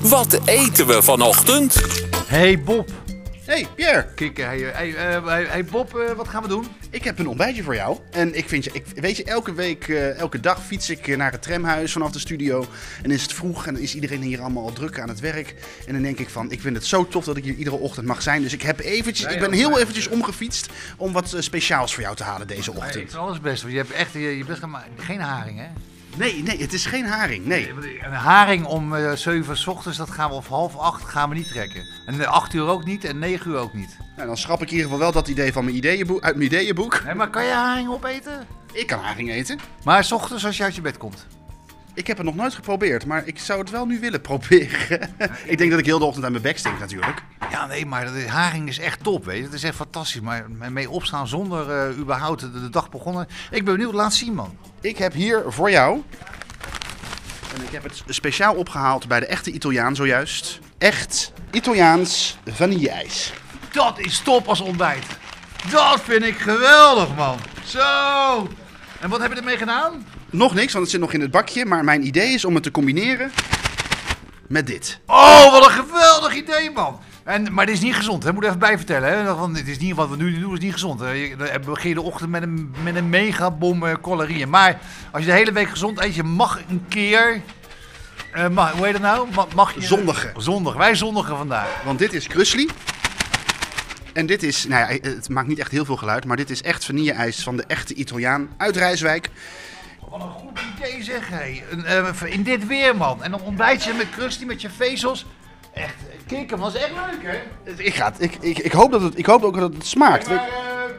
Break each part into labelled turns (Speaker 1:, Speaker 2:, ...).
Speaker 1: Wat eten we vanochtend?
Speaker 2: Hey Bob.
Speaker 3: Hey Pierre,
Speaker 2: Kijk, hey, hey, eh, hey, hey, Bob, eh, wat gaan we doen?
Speaker 3: ik heb een ontbijtje voor jou. En ik vind je, ik, weet je, elke week, eh, elke dag fiets ik eh, naar het tramhuis vanaf de studio. En is het vroeg en dan is iedereen hier allemaal al druk aan het werk. En dan denk ik van, ik vind het zo tof dat ik hier iedere ochtend mag zijn. Dus ik, heb eventjes, ik ben heel eventjes omgefietst om wat eh, speciaals voor jou te halen deze
Speaker 2: Hey, ik
Speaker 3: ochtend.
Speaker 2: vind alles best, want je hebt echt je, je best gemaakt. Geen haring, hè?
Speaker 3: Nee, nee, het is geen haring, nee.
Speaker 2: Een haring om eh 7 's ochtends, dat gaan we of half acht gaan we niet trekken. En eh, 8 uur ook niet en 9 uur ook niet.
Speaker 3: Nou, dan schrap ik in ieder geval wel dat idee van mijn ideeënboek, uit mijn ideeënboek.
Speaker 2: Nee, maar kan je haring opeten?
Speaker 3: Ik kan haring eten.
Speaker 2: Maar 's ochtends als je uit je bed komt.
Speaker 3: Ik heb het nog nooit geprobeerd, maar ik zou het wel nu willen proberen. ik denk dat ik heel de ochtend aan mijn bek stink natuurlijk.
Speaker 2: Ja, nee, maar dat- haring is echt top, weet je. Dat is echt fantastisch. Maar mee opstaan zonder eh, überhaupt de, de dag begonnen. Ik ben benieuwd, laat zien, man.
Speaker 3: Ik heb hier voor jou. En ik heb het speciaal opgehaald bij de echte Italiaan zojuist. Echt Italiaans vanilleijs.
Speaker 2: Dat is top als ontbijt. Dat vind ik geweldig, man. Zo. En wat heb je ermee gedaan?
Speaker 3: Nog niks, want het zit nog in het bakje. Maar mijn idee is om het te combineren met dit.
Speaker 2: Oh, wat een geweldig idee, man. En, maar dit is niet gezond, hè? moet ik even bij vertellen. Hè? Want dit is niet, wat we nu doen is niet gezond. Hè? Je- Dan begin je de ochtend met een, met een megabom eh, calorieën. Maar als je de hele week gezond eet, je mag een keer... eh, mag, hoe heet dat nou? Ma- Mag, je,
Speaker 3: Zondigen.
Speaker 2: Zondag. Wij zondigen vandaag.
Speaker 3: Want dit is krusli. En dit is, nou ja, het maakt niet echt heel veel geluid. Maar dit is echt vanilleijs van de echte Italiaan uit Rijswijk.
Speaker 2: Wat een goed idee zeg, hé. Een, eh, in dit weer, man. En dan ontbijt je met Krusty met je vezels. Echt, eh, kikken was echt leuk, hè?
Speaker 3: Ik, ga het- ik, ik, ik, hoop dat het, ik hoop ook dat het smaakt.
Speaker 2: Maar eh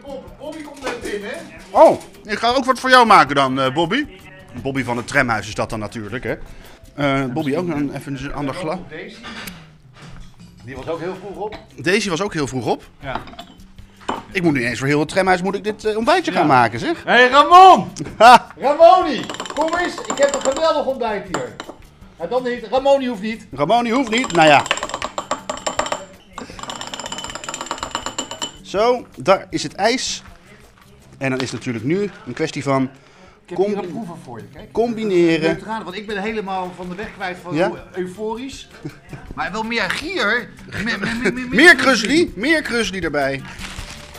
Speaker 2: Bob, Bobby komt net in, hè?
Speaker 3: Oh, ik ga ook wat voor jou maken dan, eh, Bobby. Bobby van het tramhuis is dat dan natuurlijk, hè? Eh, Bobby ook een, even een ander glas.
Speaker 2: Deze. Die was ook heel vroeg op.
Speaker 3: Daisy was ook heel vroeg op.
Speaker 2: Ja.
Speaker 3: Ik moet nu eens voor heel het tramhuis moet ik dit eh, ontbijtje gaan maken, zeg.
Speaker 2: Hé, hey, Ramon!
Speaker 3: Ha!
Speaker 2: Ramoni, kom eens. Ik heb een geweldig ontbijt hier. Nou, dan niet. Ramoni hoeft niet.
Speaker 3: Ramon, die hoeft niet. Nou ja. Zo, daar is het ijs. En dan is het natuurlijk nu een kwestie van
Speaker 2: Ik heb
Speaker 3: Combi-
Speaker 2: hier een proeven voor je, kijk.
Speaker 3: combineren.
Speaker 2: Neutrale, want ik ben helemaal van de weg kwijt van
Speaker 3: Ja?
Speaker 2: hoe euforisch. Maar wel meer gier. Me- me- me- me- me-
Speaker 3: Meer krusli, meer krusli erbij.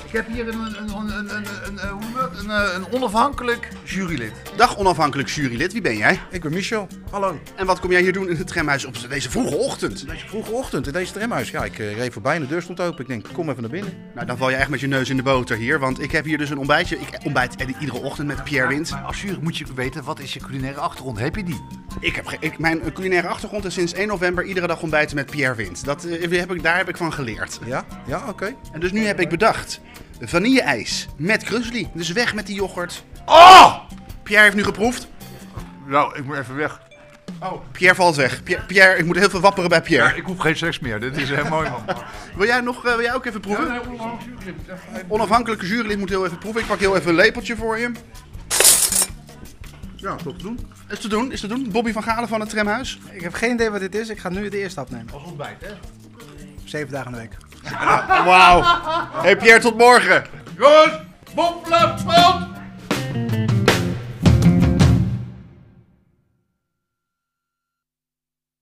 Speaker 2: Ik heb hier een, een, een, een, een, een, eh, hoe noem je dat? een, eh, een onafhankelijk jurylid.
Speaker 3: Dag onafhankelijk jurylid, wie ben jij?
Speaker 4: Ik ben Michel. Hallo.
Speaker 3: En wat kom jij hier doen in het tramhuis op deze vroege ochtend?
Speaker 4: Deze vroege ochtend in deze tramhuis. Ja, ik eh, reed voorbij en de deur stond open. Ik denk, kom even naar binnen.
Speaker 3: Nou, dan val je echt met je neus in de boter hier. Want ik heb hier dus een ontbijtje. Ik ontbijt i- iedere ochtend met Pierre Wind.
Speaker 2: Maar als jury moet je weten, wat is je culinaire achtergrond? Heb je die?
Speaker 3: Ik heb ge- ik, mijn culinaire achtergrond is sinds 1 november iedere dag ontbijten met Pierre Wind. Dat, eh, heb ik, daar heb ik van geleerd.
Speaker 4: Ja? Ja, oké.
Speaker 3: En dus nu heb ik bedacht. Vanille-ijs met krusli. Dus weg met die yoghurt.
Speaker 2: Oh!
Speaker 3: Pierre heeft nu geproefd.
Speaker 2: Nou, ik moet even weg.
Speaker 3: Oh. Pierre valt weg. Pierre, Pierre, ik moet heel veel wapperen bij Pierre.
Speaker 2: Ik hoef geen seks meer. Dit is heel mooi, man.
Speaker 3: Wil jij, nog, eh, wil jij ook even proeven? Onafhankelijke jurylid moet heel even proeven. Ik pak heel even een lepeltje voor je.
Speaker 4: Ja, toch te doen.
Speaker 3: Is te doen, is te doen. Bobby van Galen van het tramhuis.
Speaker 5: Ik heb geen idee wat dit is. Ik ga nu de eerste hap nemen.
Speaker 2: Als ontbijt, hè?
Speaker 5: Zeven dagen in de week.
Speaker 3: Wauw. Hey Pierre, tot morgen.
Speaker 2: Goed! Bob Lapland!